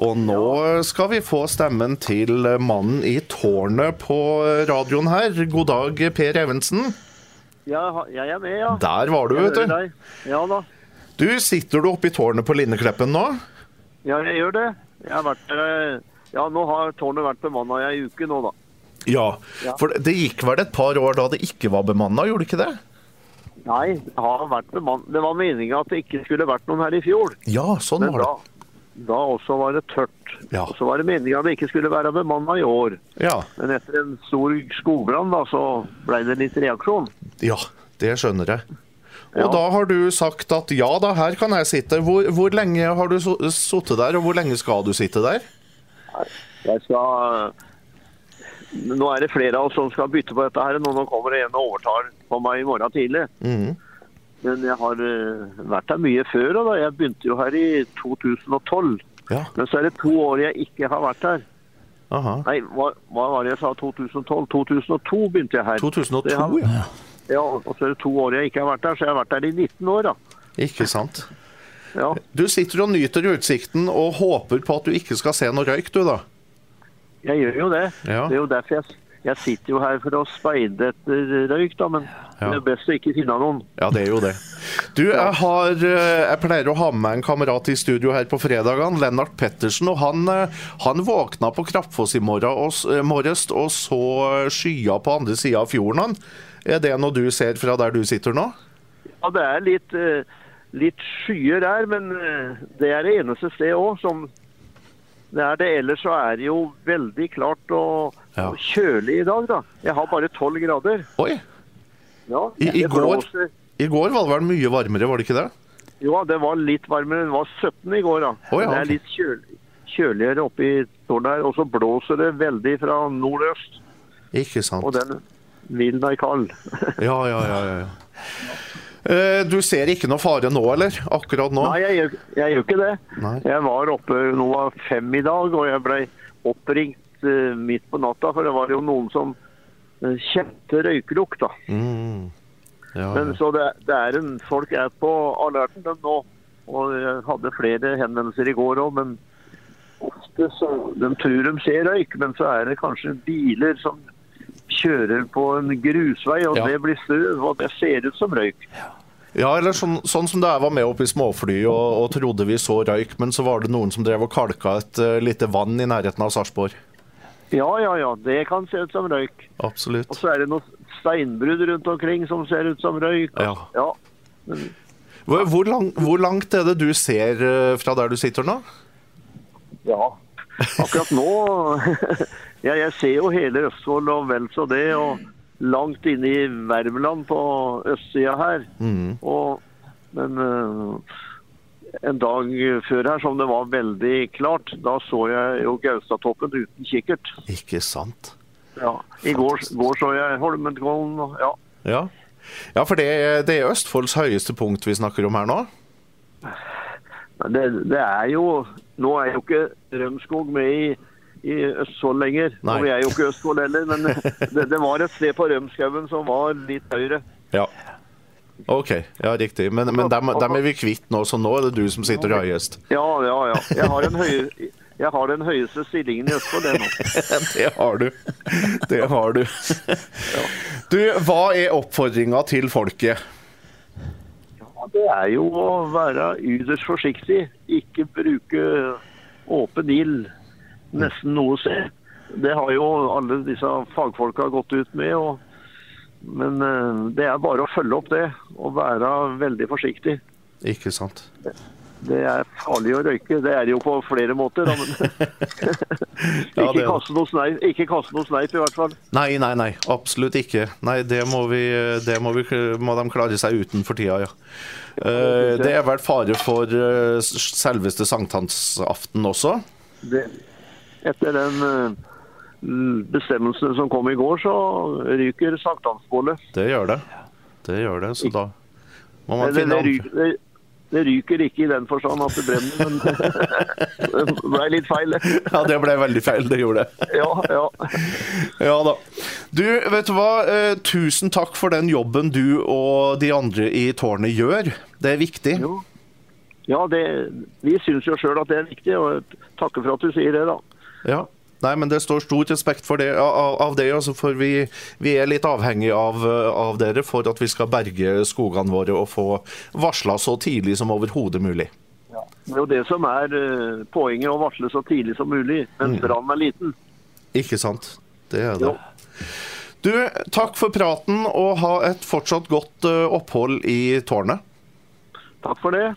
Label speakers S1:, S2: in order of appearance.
S1: Og nå skal vi få stemmen til mannen i tårnet på radioen her. God dag, Per Evensen.
S2: Ja, ha- jeg er med, ja.
S1: Der var du,
S2: Jeg
S1: vet
S2: hører
S1: du.
S2: deg. Ja da.
S1: Du, sitter du oppe i tårnet på Linnekleppen nå?
S2: Ja, jeg gjør det. Jeg har vært der eh, Ja, nå har tårnet vært bemanna i ei uke nå, da.
S1: Ja.
S2: Ja.
S1: For det gikk vel et par år da det ikke var bemanna, gjorde det ikke det?
S2: Nei, det har vært bemann... Det var meninga at det ikke skulle vært noen her i fjor.
S1: Ja, sånn
S2: Men
S1: var
S2: da,
S1: det.
S2: da også var det tørt.
S1: Ja.
S2: Og så var det meninga det ikke skulle være bemanna i år.
S1: Ja.
S2: Men etter en stor skogbrann, da, så blei det litt reaksjon.
S1: ja, det skjønner jeg. Og
S2: Ja.
S1: da har du sagt at ja da, her kan jeg sitte. Hvor, hvor lenge har du so- sittet der, og hvor lenge skal du sitte der?
S2: Jeg skal eh, Nå er det flere av oss som skal bytte på dette her. Nå nå kommer det en og overtar på meg i morgen tidlig.
S1: Mhm.
S2: Men jeg har eh, vært her mye før. og Da. Jeg begynte jo her i 2012.
S1: Ja.
S2: Men så er det to år jeg ikke har vært her.
S1: Aha.
S2: Nei, hva, hva var det jeg sa? 2012? 2002 begynte jeg her. Så jeg
S1: 2002,
S2: har,
S1: ja.
S2: ja. Og så er det to år jeg ikke har vært her, så jeg har vært her i 19 år, da.
S1: Ikke sant.
S2: Ja.
S1: Du sitter og nyter utsikten og håper på at du ikke skal se noe røyk, du da.
S2: Jeg gjør jo det.
S1: Ja.
S2: Det er jo derfor jeg, jeg sitter jo her for å speide etter røyk, da. Men
S1: Ja.
S2: det er best å ikke finne noen.
S1: Ja, det er jo det. Du, jeg, har, eh, jeg pleier å ha med meg en kamerat i studio her på fredagene, Lennart Pettersen. og Han, eh, han våkna på Krappfoss i morgen og, s- eh, morges og så skya på andre sida av fjorden. Han. Er det noe du ser fra der du sitter nå?
S2: Ja, det er litt, eh, litt skyer der, men eh, det er det eneste stedet òg som det er det. Ellers så er det jo veldig klart og
S1: Ja.
S2: og kjølig i dag, da. Jeg har bare tolv grader.
S1: Oi!
S2: Ja,
S1: I- i
S2: det
S1: går?
S2: blåser.
S1: I går var det vel mye varmere, var det ikke det?
S2: Jo, det var litt varmere. Det var 17 i går, da.
S1: Å, ja, ok.
S2: Det er litt kjølig, kjøligere oppe i tårnet her. Og så blåser det veldig fra nordøst.
S1: Ikke sant.
S2: Og den vinden er kald.
S1: Ja, ja, ja. ja, ja. Eh, Du ser ikke noe fare nå, eller? Akkurat nå?
S2: Nei, jeg gjør, jeg gjør ikke det.
S1: Nei.
S2: Jeg var oppe nå var fem i dag, og jeg ble oppringt eh, midt på natta, for det var jo noen som eh, kjente røyklukt, da.
S1: Mm. Ja,
S2: Men
S1: ja.
S2: så det, det er en Folk er på alerten de nå. Og jeg hadde flere henvendelser i går òg, men ofte så De tror de ser røyk, men så er det kanskje biler som kjører på en grusvei, og
S1: Ja.
S2: det blir støv, og det ser ut som røyk.
S1: Ja, eller sånn, sånn som da jeg var med opp i småfly og, og trodde vi så røyk, men så var det noen som drev og kalka et eh, lite vann i nærheten av Sarpsborg.
S2: Ja, ja, ja, det kan se ut som røyk. Og
S1: Absolutt.
S2: så er det noen steinbrudd rundt omkring som ser ut som røyk.
S1: Ja.
S2: Ja.
S1: Hvor, hvor, lang, hvor langt er det du ser eh, fra der du sitter nå?
S2: ja. Akkurat nå ja, Jeg ser jo hele Østfold og vel så det, og langt inne i Värmland på østsida her. Og, men eh, en dag før her, som det var veldig klart, da så jeg jo Gaustatoppen uten kikkert.
S1: Ikke sant.
S2: Ja. I går, går så jeg Holmenkollen. og- Ja.
S1: Ja, ja for det, er- det er Østfolds høyeste punkt vi snakker om her nå.
S2: Men Det, det er jo Nå er jo ikke Rømskog med i, i Østfold lenger.
S1: Nei.
S2: Og vi er jo ikke Østfold heller, men det, det var et sted på Rømskauen som var litt høyere.
S1: Ja. OK, ja riktig. Men, men dem, dem er vi kvitt nå, så nå er det du som sitter høyest.
S2: Ja, ja, ja. Jeg har, den høye, jeg har den høyeste stillingen i Østfold, det nå.
S1: Det har du. Det har du. Du, hva er oppfordringa til folket?
S2: Ja, Det er jo å være ytterst forsiktig. Ikke bruke åpen ild nesten noe sted. Det har jo alle disse fagfolka gått ut med. Og, men eh, det er bare å følge opp det og være veldig forsiktig.
S1: Ikke sant.
S2: Det er farlig å røyke. Det er det jo på flere måter. Da, men
S1: Ja, det
S2: ikke,
S1: er det.
S2: kaste noe sneip, ikke kaste noe sneip, i hvert fall.
S1: Nei, nei, nei. Absolutt ikke. Nei, det må, vi, det må, vi, må de klare seg uten for tida, ja. Eh, det er vel fare for eh, s- selveste sankthansaften også?
S2: Det, etter den eh, bestemmelsen som kom i går, så ryker sankthansbålet.
S1: Det gjør det. Det gjør det, så da må man
S2: Eller
S1: finne
S2: det,
S1: andre.
S2: ryker, det, det ryker ikke i den forstand at det brenner, men det ble litt feil.
S1: Ja, det ble veldig feil. Det gjorde det.
S2: Ja, ja.
S1: Ja da. Du, vet du hva? Eh, tusen takk for den jobben du og de andre i tårnet gjør. Det er viktig.
S2: Jo. Ja, det, vi syns jo sjøl at det er viktig, og takker for at du sier det, da.
S1: Ja. Nei, men det står stor respekt for det, av, av det, altså, for vi, vi er litt avhengig av, eh, av dere for at vi skal berge skogene våre og få varsla så tidlig som overhodet mulig.
S2: Det er jo det som er eh, poenget, å varsle så tidlig som mulig mens brannen er liten.
S1: Ikke sant? Det er det.
S2: Jo.
S1: Du, takk for praten, og ha et fortsatt godt eh, opphold i tårnet.
S2: Takk for det.